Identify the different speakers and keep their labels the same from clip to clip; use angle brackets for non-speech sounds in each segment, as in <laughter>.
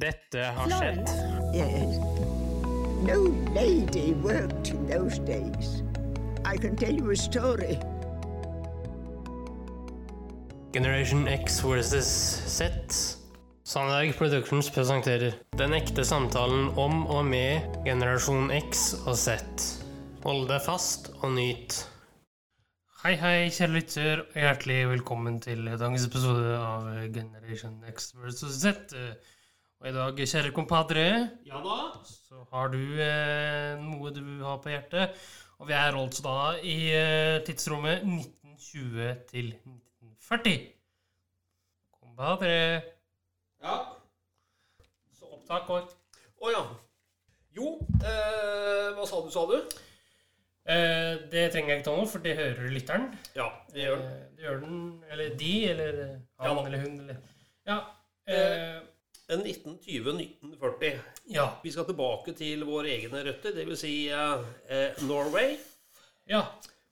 Speaker 1: Dette har skjedd.
Speaker 2: Florence.
Speaker 3: Yes. No lady worked in those days. I can tell you a story.
Speaker 1: Generation X versus Z. Sandberg Productions presenterer Den ekte samtalen om og med generasjon X og Z. Hold deg fast og nyt. Hei, hei, kjære lytter, og hjertelig velkommen til dagens episode av Generation X versus Z. Og i dag, kjære kompadre,
Speaker 4: Ja da.
Speaker 1: så har du eh, noe du har på hjertet. Og vi er altså da i eh, tidsrommet 1920 til 1940. Kompadre.
Speaker 4: Ja.
Speaker 1: Så opptak går.
Speaker 4: Å ja. Jo, eh, hva sa du, sa du?
Speaker 1: Eh, det trenger jeg ikke ta nå, for det hører lytteren.
Speaker 4: Ja, det
Speaker 1: Eh, det gjør den, eller de, eller eh, han
Speaker 4: Ja da.
Speaker 1: eller hun, eller Ja. Eh,
Speaker 4: 1920-1940.
Speaker 1: ja.
Speaker 4: Vi skal tilbake til våre egne røtter, dvs. Si, eh, eh, Norway.
Speaker 1: Ja.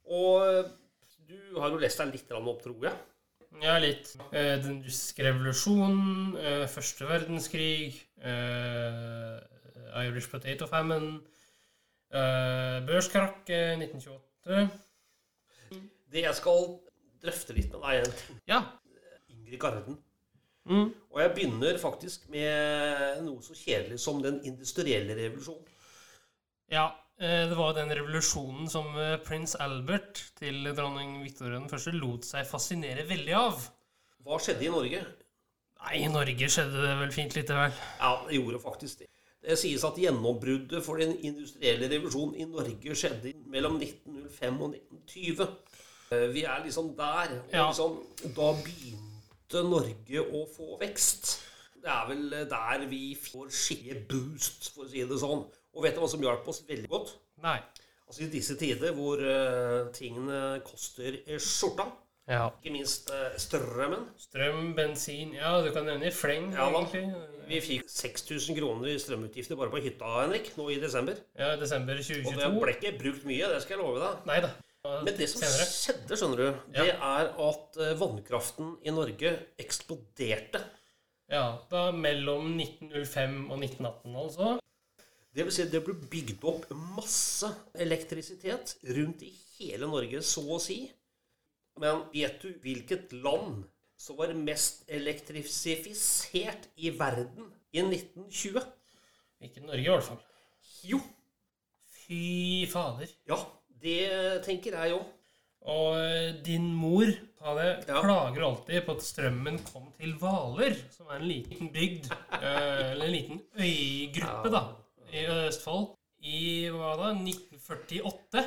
Speaker 4: Og eh, du har jo lest deg litt grann opp, tror jeg.
Speaker 1: Ja, litt. Eh, den russiske revolusjonen, eh, første verdenskrig, eh, Irish potato famine, eh, børskrakk eh, 1928
Speaker 4: Det jeg skal drøfte litt med deg,
Speaker 1: Ja.
Speaker 4: er Ingrid Garden.
Speaker 1: Mm.
Speaker 4: Og jeg begynner faktisk med noe så kjedelig som den industrielle revolusjonen.
Speaker 1: Ja, eh, det var den revolusjonen som eh, prins Albert til dronning Victoria 1. lot seg fascinere veldig av.
Speaker 4: Hva skjedde i Norge?
Speaker 1: Nei, i Norge skjedde det vel fint lite vel.
Speaker 4: Ja, det gjorde faktisk det. Det sies at gjennombruddet for den industrielle revolusjonen i Norge skjedde mellom 1905 og 1920. Eh, Vi er liksom der. Og
Speaker 1: Ja.
Speaker 4: liksom, da begynte Norge å få vekst. Det er vel eh, der vi får skikkelig boost, for å si det sånn. Og vet du hva som hjalp oss veldig godt?
Speaker 1: Nei.
Speaker 4: Altså I disse tider hvor eh, tingene koster eh, skjorta,
Speaker 1: Ja.
Speaker 4: ikke minst eh, strømmen
Speaker 1: Strøm, bensin Ja, du kan nevne i fleng,
Speaker 4: Ja, da.
Speaker 1: egentlig.
Speaker 4: Vi fikk 6000 kroner i strømutgifter bare på hytta, Henrik, nå i desember.
Speaker 1: Ja, desember
Speaker 4: Og det ble
Speaker 1: 2022.
Speaker 4: ikke brukt mye, det skal jeg love deg.
Speaker 1: Nei da.
Speaker 4: Men det som
Speaker 1: Senere.
Speaker 4: skjedde, skjønner du, det er at eh, vannkraften i Norge eksploderte.
Speaker 1: Ja, da mellom 1905 og 1918, altså.
Speaker 4: Det vil si, det ble bygd opp masse elektrisitet rundt i hele Norge, så å si. Men vet du hvilket land som var mest elektrifisert i verden i 1920?
Speaker 1: Ikke Norge, i hvert fall.
Speaker 4: Jo,
Speaker 1: Fy fader.
Speaker 4: ja, det tenker jeg òg.
Speaker 1: Og eh, din mor sa det,
Speaker 4: Ja.
Speaker 1: klager alltid på at strømmen kom til Hvaler, som er en liten bygd, eh, eller en liten øygruppe, da, i Østfold, i hva da, 1948.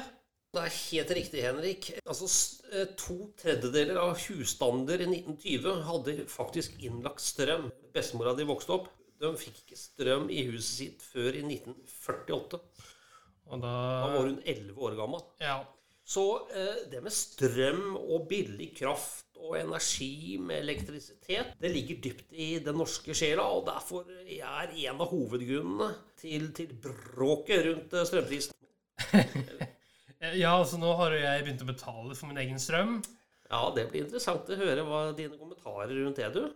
Speaker 4: Det er helt riktig, Henrik. Altså, s- eh, To tredjedeler av husstander i 1920 hadde faktisk innlagt strøm. Bestemora di vokste opp. De fikk ikke strøm i huset sitt før i 1948.
Speaker 1: Og da
Speaker 4: Da var hun 11 år gammel.
Speaker 1: Ja.
Speaker 4: Så eh, det med strøm og billig kraft og energi med elektrisitet, det ligger dypt i den norske sjela, og derfor er en av hovedgrunnene til, til bråket rundt eh, strømprisen.
Speaker 1: Eh, ja, altså nå har jo jeg begynt å betale for min egen strøm.
Speaker 4: Ja, det blir interessant å høre hva dine kommentarer rundt det, du.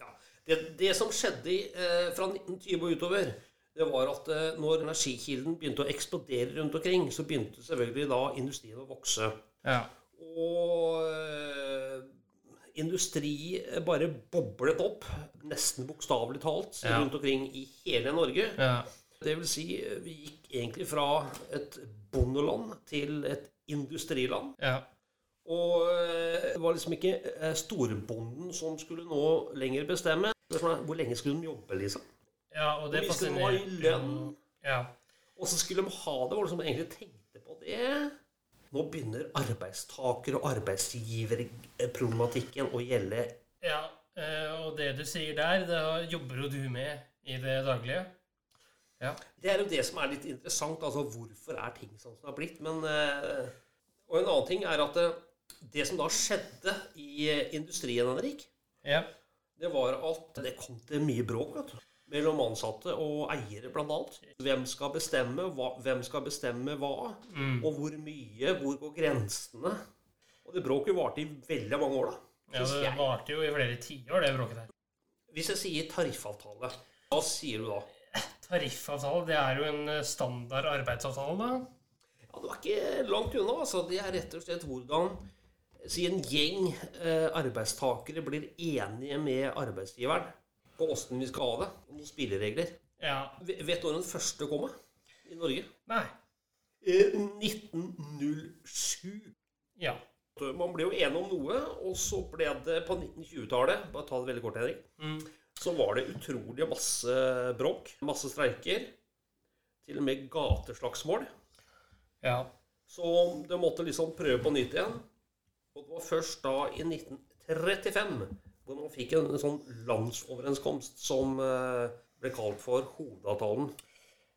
Speaker 4: Ja, det, det som skjedde i, eh, fra 1920 og utover, det var at eh, når energikilden begynte å eksplodere rundt omkring, så begynte selvfølgelig da industrien å vokse.
Speaker 1: Ja.
Speaker 4: Og eh, industri bare boblet opp, nesten bokstavelig talt,
Speaker 1: Ja.
Speaker 4: rundt omkring i hele Norge.
Speaker 1: ja.
Speaker 4: Det vil si, eh, vi gikk egentlig fra et bondeland til et industriland.
Speaker 1: ja.
Speaker 4: Og eh, det var liksom ikke eh, storbonden som skulle nå lenger bestemme. Spørsmålet er, Hvor lenge skulle de jobbe, liksom?
Speaker 1: Ja, og det
Speaker 4: Hvor mye skal de ha i
Speaker 1: fascinerer
Speaker 4: lønn?
Speaker 1: Ja.
Speaker 4: Og så skulle de ha det. Var det som de egentlig tenkte på det? Nå begynner arbeidstaker- og arbeidsgiverproblematikken å gjelde.
Speaker 1: ja. eh, Og det du sier der, det jobber jo du med i det daglige. Ja.
Speaker 4: Det er jo det som er litt interessant. Altså hvorfor er ting sånn som det har blitt? Men eh, Og en annen ting er at eh, det som da skjedde i eh, industrien, Henrik,
Speaker 1: ja.
Speaker 4: det var at det kom til mye bråk vet du, mellom ansatte og eiere, blant annet. Hvem skal bestemme hva, hvem skal bestemme hva
Speaker 1: Mm.
Speaker 4: og hvor mye, hvor går grensene? Og det bråket varte i veldig mange år, da.
Speaker 1: Ja,
Speaker 4: Synes
Speaker 1: det
Speaker 4: jeg.
Speaker 1: varte jo i flere tiår, det bråket der.
Speaker 4: Hvis jeg sier tariffavtale, Hva sier du da?
Speaker 1: Tariffavtale det er jo en eh, standard arbeidsavtale, da.
Speaker 4: Ja, Du er ikke langt unna. altså. Det er rett og slett hvordan si en gjeng eh, arbeidstakere blir enige med arbeidsgiveren på åssen vi skal ha det. Noen spilleregler.
Speaker 1: Ja.
Speaker 4: V- Vet du når den første kom da? i Norge?
Speaker 1: Nei.
Speaker 4: Eh, 1907.
Speaker 1: Ja.
Speaker 4: Man ble jo enig om noe, og så ble det på 1920-tallet Bare ta det veldig kort, Henrik.
Speaker 1: Mm.
Speaker 4: Så var det utrolig masse bråk. Masse streiker. Til og med gateslagsmål.
Speaker 1: Ja.
Speaker 4: Så det måtte liksom prøve på nytt igjen. Og det var først da i 1935 hvor man fikk en sånn landsoverenskomst som eh, ble kalt for hovedavtalen.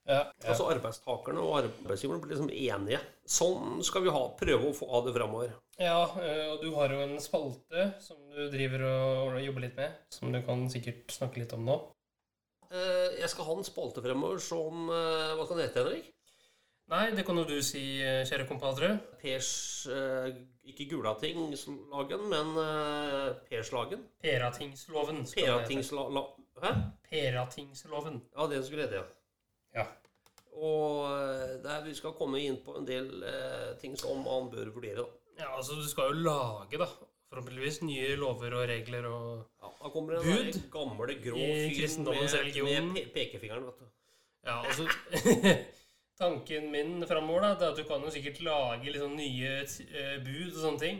Speaker 1: ja.
Speaker 4: Altså arbeidstakerne og arbeidsgiverne ble liksom enige. Sånn skal vi ha, prøve å få av det framover.
Speaker 1: Ja, eh, og du har jo en spalte som du driver og jobber litt med, som du kan sikkert snakke litt om nå.
Speaker 4: Eh, Jeg skal ha en spalte fremover som eh, Hva skal den hete, Henrik?
Speaker 1: Nei, det kan jo du si, eh, kjære kompadre.
Speaker 4: Pers eh, Ikke Gulatingslagen, men eh, Perslagen.
Speaker 1: Peratingsloven. skal det hete.
Speaker 4: Peratingslag... la- Hæ?
Speaker 1: Peratingsloven.
Speaker 4: Ja, det skulle hete, ja.
Speaker 1: Ja.
Speaker 4: Og eh, der vi skal komme inn på en del eh, ting som man bør vurdere. Da.
Speaker 1: ja, altså du skal jo lage, da, forhåpentligvis nye lover og regler og
Speaker 4: Ja, da kommer det
Speaker 1: Bud
Speaker 4: den der gamle, grå
Speaker 1: i
Speaker 4: fyren
Speaker 1: kristendommens
Speaker 4: med,
Speaker 1: religion.
Speaker 4: med pe pekefingeren. vet du.
Speaker 1: Ja, altså <laughs> Tanken min framover da, det er at du kan jo sikkert lage liksom nye eh, bud og sånne ting.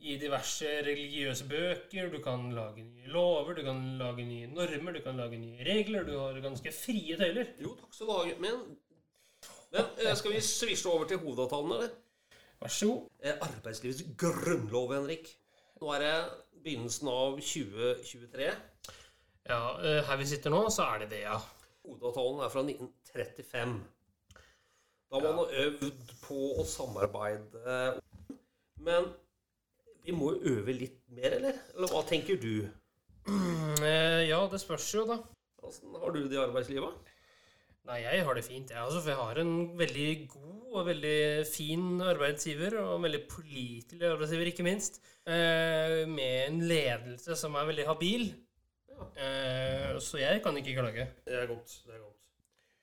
Speaker 1: I diverse religiøse bøker. Du kan lage nye lover, du kan lage nye normer, du kan lage nye regler. Du har ganske frie tøyler.
Speaker 4: Jo, takk skal du ha. Men, men eh, skal vi svisje over til hovedavtalen, eller?
Speaker 1: Vær så god.
Speaker 4: Eh, Arbeidslivets grunnlov, Henrik. Nå er det begynnelsen av 2023.
Speaker 1: Ja, eh, her vi sitter nå, så er det det, ja.
Speaker 4: Hovedavtalen er fra 1935. Da har man øvd på å samarbeide. Men vi må jo øve litt mer, eller? Eller hva tenker du?
Speaker 1: Mm, eh, Ja, det spørs jo, da.
Speaker 4: Åssen har du det i arbeidslivet?
Speaker 1: Nei, jeg har det fint, jeg, altså. For jeg har en veldig god og veldig fin arbeidsgiver. Og en veldig pålitelig arbeidsgiver, ikke minst. Eh, med en ledelse som er veldig habil. Eh, så jeg kan ikke klage.
Speaker 4: Det er godt. det er godt.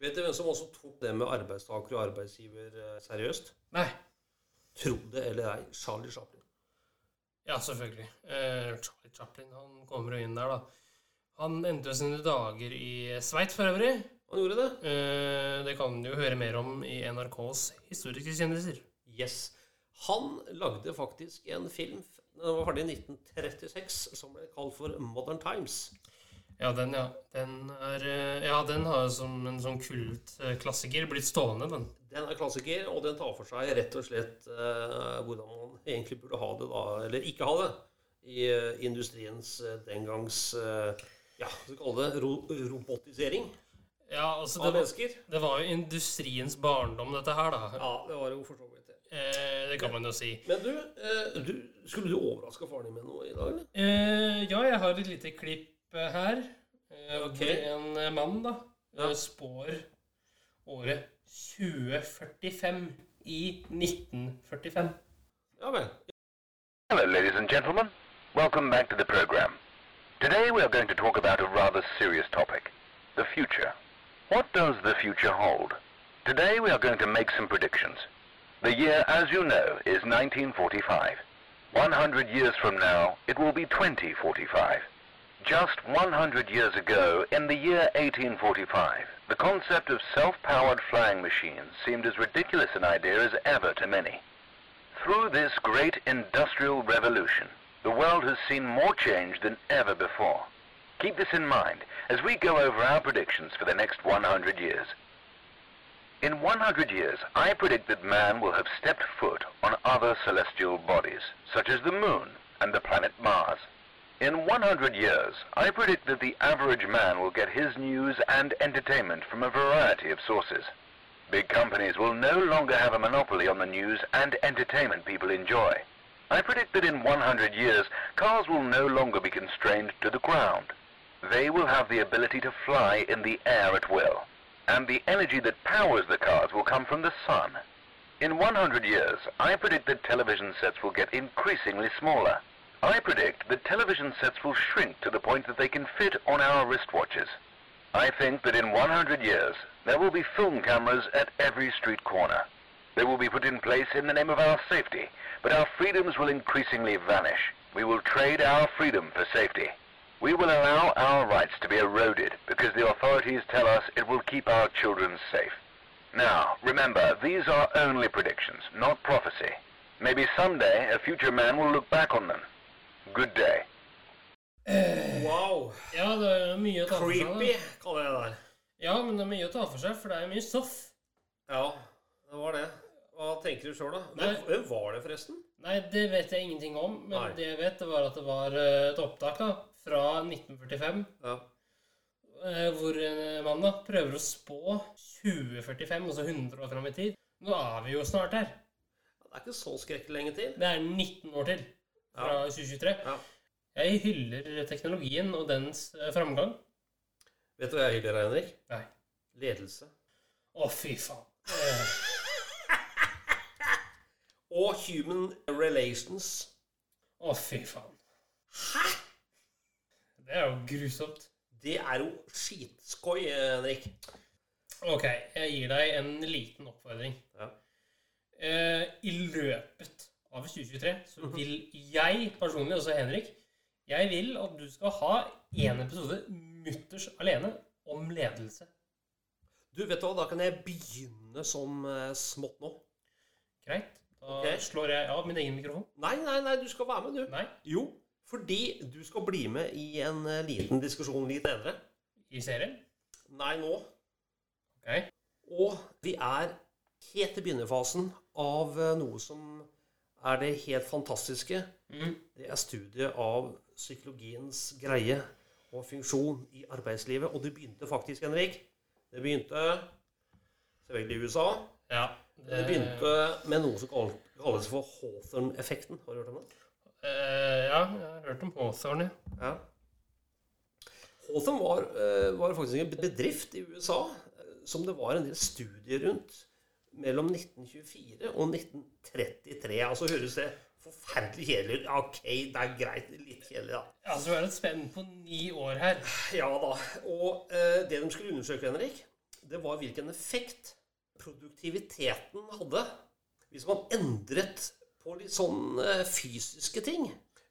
Speaker 4: Vet du hvem som også tok det med arbeidstaker og arbeidsgiver eh, seriøst?
Speaker 1: Nei.
Speaker 4: Tro det eller ei, Charlie Chaplin.
Speaker 1: Ja, selvfølgelig. Eh, Charlie Chaplin han kommer jo inn der, da. Han endte jo sine dager i Sveits for øvrig.
Speaker 4: Han gjorde det.
Speaker 1: Eh, det kan du jo høre mer om i NRKs historiske kjendiser.
Speaker 4: Yes. Han lagde faktisk en film f- den var ferdig i 1936 som ble kalt for Modern Times.
Speaker 1: Ja, den, ja. Den, er, eh, ja, den har jo som en sånn kultklassiker blitt stående, den.
Speaker 4: Den er klassiker, og den tar for seg rett og slett eh, hvordan man egentlig burde ha det, da, eller ikke ha det, i eh, industriens eh, den gangs eh, ja, hva skal vi kalle det, ro robotisering
Speaker 1: Ja, altså,
Speaker 4: av
Speaker 1: det, var-
Speaker 4: mennesker.
Speaker 1: det var jo industriens barndom, dette her, da.
Speaker 4: Ja, det var jo for så vidt det.
Speaker 1: Eh, det kan man jo si.
Speaker 4: Men du, eh, du skulle du overraske faren din med noe i dag, eller?
Speaker 1: Eh, ja, jeg har et lite klipp eh, her. Eh,
Speaker 4: Ok.
Speaker 1: Hvor en eh, mann da
Speaker 4: Ja.
Speaker 1: eh, spår året 2045 i 1945.
Speaker 4: Ja vel.
Speaker 2: Hello, ladies and gentlemen. Welcome back to the program. Today we are going to talk about a rather serious topic the future. What does the future hold? Today we are going to make some predictions. The year, as you know, is 1945. 100 years from now, it will be 2045. Just 100 years ago, in the year 1845, the concept of self-powered flying machines seemed as ridiculous an idea as ever to many. Through this great industrial revolution, the world has seen more change than ever before. Keep this in mind as we go over our predictions for the next 100 years. In 100 years, I predict that man will have stepped foot on other celestial bodies, such as the Moon and the planet Mars. In 100 years, I predict that the average man will get his news and entertainment from a variety of sources. Big companies will no longer have a monopoly on the news and entertainment people enjoy. I predict that in 100 years, cars will no longer be constrained to the ground. They will have the ability to fly in the air at will. And the energy that powers the cars will come from the sun. In 100 years, I predict that television sets will get increasingly smaller. I predict that television sets will shrink to the point that they can fit on our wristwatches. I think that in 100 years, there will be film cameras at every street corner. They will be put in place in the name of our safety, but our freedoms will increasingly vanish. We will trade our freedom for safety. We will allow our rights to be eroded because the authorities tell us it will keep our children safe. Now, remember, these are only predictions, not prophecy. Maybe someday a future man will look back on them. Good day.
Speaker 4: Wow.
Speaker 1: Ja, det er mye å ta for seg.
Speaker 4: Creepy,
Speaker 1: da.
Speaker 4: kaller jeg det der.
Speaker 1: Ja, men det er mye å ta for seg, for det er mye stoff.
Speaker 4: Ja, det var det. Hva tenker du sjøl, da?
Speaker 1: Nei.
Speaker 4: Hvem, hvem var det, forresten?
Speaker 1: Nei, det vet jeg ingenting om, men
Speaker 4: Nei.
Speaker 1: det jeg vet, det var at det var eh, et opptak da, fra 1945,
Speaker 4: Ja.
Speaker 1: eh, hvor en mann da prøver å spå 2045, altså 100 år fram i tid. Nå er vi jo snart her.
Speaker 4: Det er ikke så skrekkelig lenge til.
Speaker 1: Det er 19 år til fra 2023.
Speaker 4: Ja.
Speaker 1: Jeg hyller teknologien og dens eh, framgang.
Speaker 4: Vet du hva jeg hyller, Henrik?
Speaker 1: Nei.
Speaker 4: Ledelse.
Speaker 1: Å, fy faen. Eh,
Speaker 4: Og human relations.
Speaker 1: Å, fy faen. Hæ? Det er jo grusomt.
Speaker 4: Det er jo skitskoj, Henrik.
Speaker 1: Ok, jeg gir deg en liten oppfordring.
Speaker 4: Ja.
Speaker 1: Eh, I løpet av 2023 så vil jeg personlig, altså Henrik, jeg vil at du skal ha en episode mutters alene om ledelse.
Speaker 4: Du, vet du hva, da kan jeg begynne som eh, smått nå.
Speaker 1: Greit? Da
Speaker 4: Ok.
Speaker 1: slår jeg av min egen mikrofon.
Speaker 4: Nei, nei, nei, du skal være med, du.
Speaker 1: Nei,
Speaker 4: Jo, fordi du skal bli med i en eh, liten diskusjon litt senere.
Speaker 1: i serien.
Speaker 4: Nei, nå.
Speaker 1: Ok.
Speaker 4: Og vi er helt i begynnerfasen av eh, noe som er det helt fantastiske.
Speaker 1: Mhm.
Speaker 4: Det er studiet av psykologiens greie og funksjon i arbeidslivet. Og det begynte faktisk, Henrik. Det begynte selvfølgelig i USA.
Speaker 1: Ja.
Speaker 4: Det begynte med noe som kall- kalles for Hawthorne-effekten. Har du hørt om det?
Speaker 1: Eh, ja, jeg har hørt om Hawthorne. ja.
Speaker 4: Ja. Hawthorne var, eh, var faktisk en bedrift i USA eh, som det var en del studier rundt mellom 1924 og 1933. Altså høres det forferdelig kjedelig ut. Ja, Ok, det er greit. Litt kjedelig, da.
Speaker 1: Altså, vi har et spenn på ni år her.
Speaker 4: Ja da. Og eh, det de skulle undersøke, Henrik, det var hvilken effekt produktiviteten hadde hvis man endret på litt sånn eh, fysiske ting.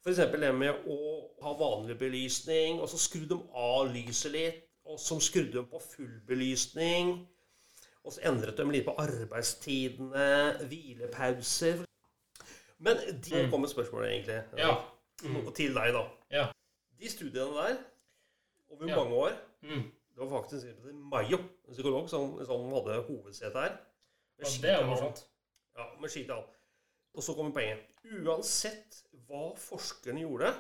Speaker 4: F.eks. det med å ha vanlig belysning, og så skrudde de av lyset litt. Og så skrudde de på full belysning. Og så endret de litt på arbeidstidene, hvilepauser Men de nå kommer spørsmålet, egentlig.
Speaker 1: Ja.
Speaker 4: Og til deg, da.
Speaker 1: Mm. Ja.
Speaker 4: De studiene der, over
Speaker 1: Ja.
Speaker 4: mange år
Speaker 1: Mm.
Speaker 4: Det var faktisk en Mayo, en psykolog, som, som hadde hovedsete her. Med
Speaker 1: Og det er
Speaker 4: skitall.
Speaker 1: jo morsomt.
Speaker 4: Ja, med skitall. Og så kommer poenget. Uansett hva forskerne gjorde,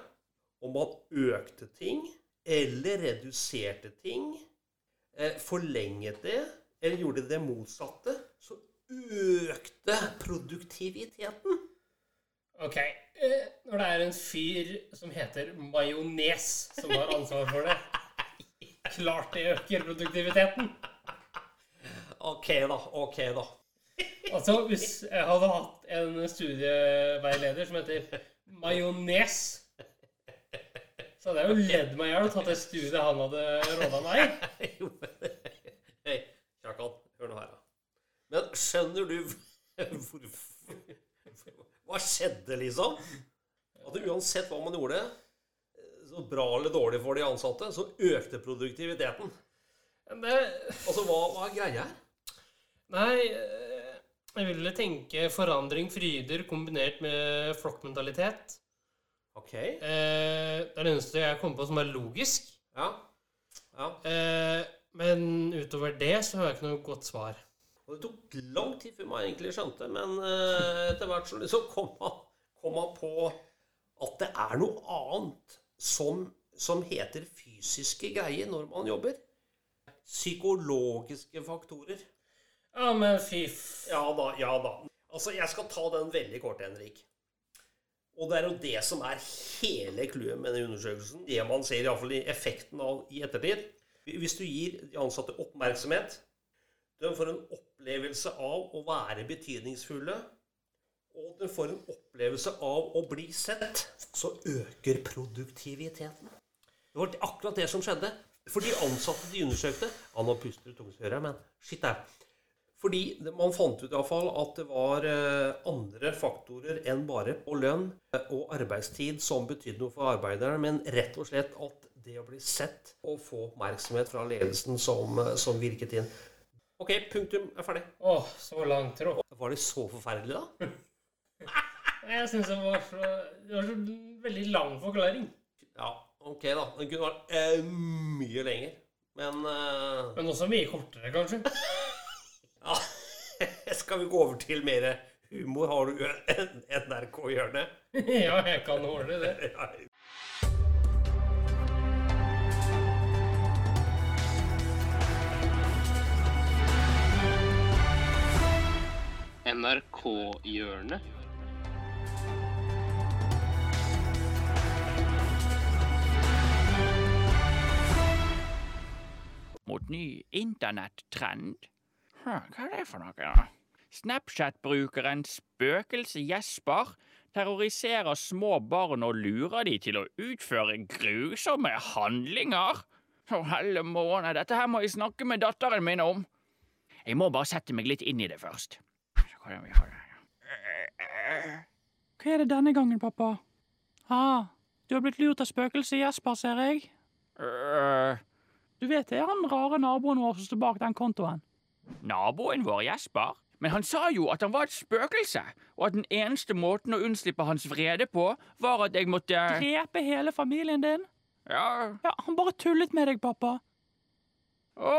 Speaker 4: om man økte ting eller reduserte ting, eh, forlenget det eller gjorde det motsatte, så økte produktiviteten.
Speaker 1: Ok. eh, Når det er en fyr som heter majones som har ansvar for det Klart det øker produktiviteten.
Speaker 4: Ok, da. Ok, da.
Speaker 1: Altså, hvis jeg hadde hatt en studieveileder som heter majones, så hadde jeg jo ledd meg i hjel og tatt det studiet han hadde råda meg.
Speaker 4: <laughs> Jo, men Hei, Kjakan, hør nå her, da. Men skjønner du hvorfor Hva skjedde, liksom? At uansett hva man gjorde, så bra eller dårlig for de ansatte, så økte produktiviteten.
Speaker 1: Men det
Speaker 4: Altså, hva, hva er greia her?
Speaker 1: Nei, eh, jeg ville tenke forandring fryder kombinert med flokkmentalitet.
Speaker 4: Ok.
Speaker 1: Eh, Det er det eneste jeg kom på som er logisk.
Speaker 4: Ja. ja.
Speaker 1: Eh, Men utover det så har jeg ikke noe godt svar.
Speaker 4: Og det tok lang tid før man egentlig skjønte, men eh, etter hvert så liksom kom man, kom man på at det er noe annet som, som heter fysiske greier når man jobber. Psykologiske faktorer.
Speaker 1: Ja, men fy f...
Speaker 4: Ja da, ja da. Altså, jeg skal ta den veldig kort, Henrik. Og det er jo det som er hele clouet med den undersøkelsen. Det man ser iallfall i effekten av i ettertid. Hvis du gir de ansatte oppmerksomhet, de får en opplevelse av å være betydningsfulle, og de får en opplevelse av å bli sett, så øker produktiviteten. Det var akkurat det som skjedde. For de ansatte de undersøkte Ja, nå puster du tungt, hører jeg, men shit au. Fordi det- man fant ut i hvert fall at det var eh, andre faktorer enn bare på lønn eh, og arbeidstid som betydde noe for arbeiderne, men rett og slett at det å bli sett og få oppmerksomhet fra ledelsen som, eh, som virket inn. Ok, punktum er ferdig.
Speaker 1: Å, så langt tråd.
Speaker 4: Var det så forferdelig, da?
Speaker 1: Jeg syns det var så Det var så veldig lang forklaring.
Speaker 4: Ja, ok, da. Den kunne vært eh, mye lenger. Men eh,
Speaker 1: Men også mye kortere, kanskje. <laughs>
Speaker 4: ja. <laughs> Skal vi gå over til mer humor? Har du en NRK-hjørne?
Speaker 1: ja, jeg kan ordne det. NRK-hjørnet.
Speaker 5: mot ny internettrend. Hm, hva er det for noe, da? Snapchat-brukeren Spøkelse Jesper terroriserer små barn og lurer de til å utføre grusomme handlinger. Å, helle måne, dette her må jeg snakke med datteren min om. Jeg må bare sette meg litt inn i det først. Så hvordan vi har det her? Hva er det denne gangen, pappa? Ah, du har blitt lurt av spøkelset Jesper, ser jeg. Øh, Du vet det er han rare naboen vår som står bak den kontoen. Naboen vår, Jesper? Men han sa jo at han var et spøkelse, og at den eneste måten å unnslippe hans vrede på, var at jeg måtte Drepe hele familien din? Ja. ja han bare tullet med deg, pappa. Å,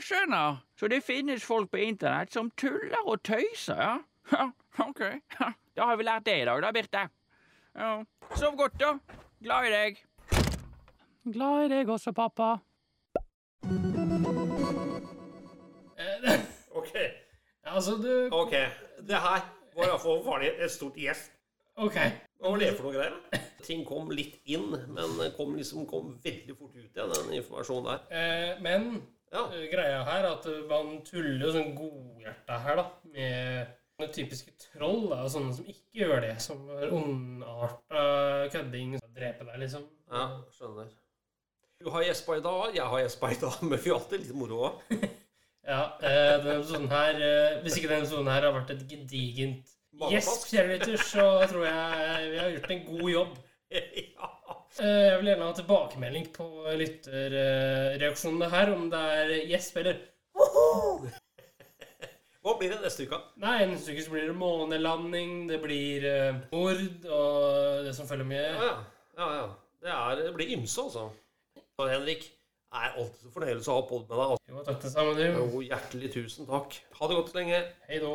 Speaker 5: skjønner. Så det finnes folk på internett som tuller og tøyser, ja? Ha, ok. Ha, Da har vi lært det i dag, da, Birte. Ja. Sov godt, da. Glad i deg. Glad i deg også, pappa.
Speaker 4: Ok,
Speaker 1: Eh, Altså, du
Speaker 4: ok. Det her var iallfall farlig. Et stort gjest.
Speaker 1: OK.
Speaker 4: Hva var det for noe greier? Ting kom litt inn, men kom liksom kom veldig fort ut igjen, den informasjonen der.
Speaker 1: Eh, men
Speaker 4: Ja,
Speaker 1: eh, greia her er at eh, man tuller jo sånn godhjerta her, da, med sånne typiske troll, da, og sånne som ikke gjør det, som er ondarta kødding, som dreper deg, liksom.
Speaker 4: ja skjønner. Du har gjespa i dag, jeg har gjespa i dag, <laughs> men vi har hatt det litt moro òg.
Speaker 1: Ja, eh, denne episoden her eh, Hvis ikke denne episoden her har vært et gedigent gjesp,
Speaker 4: Mageplask.
Speaker 1: cheerleaders, så tror jeg eh, vi har gjort en god jobb.
Speaker 4: <laughs> Ja.
Speaker 1: Eh, Jeg vil gjerne ha tilbakemelding på lytterreaksjonene her, om det er gjesp eller
Speaker 4: Hva blir det neste uke?
Speaker 1: Nei, neste uke så blir det månelanding, det blir eh, mord og det som følger med.
Speaker 4: Ja, ja. ja. Det, er, det blir ymse, altså. Og Henrik, det er alltid så fornøyelse å ha pod med deg. Altså.
Speaker 1: Jo, takk det samme, du.
Speaker 4: Jo, hjertelig tusen takk. Ha det godt så lenge.
Speaker 1: Hei då.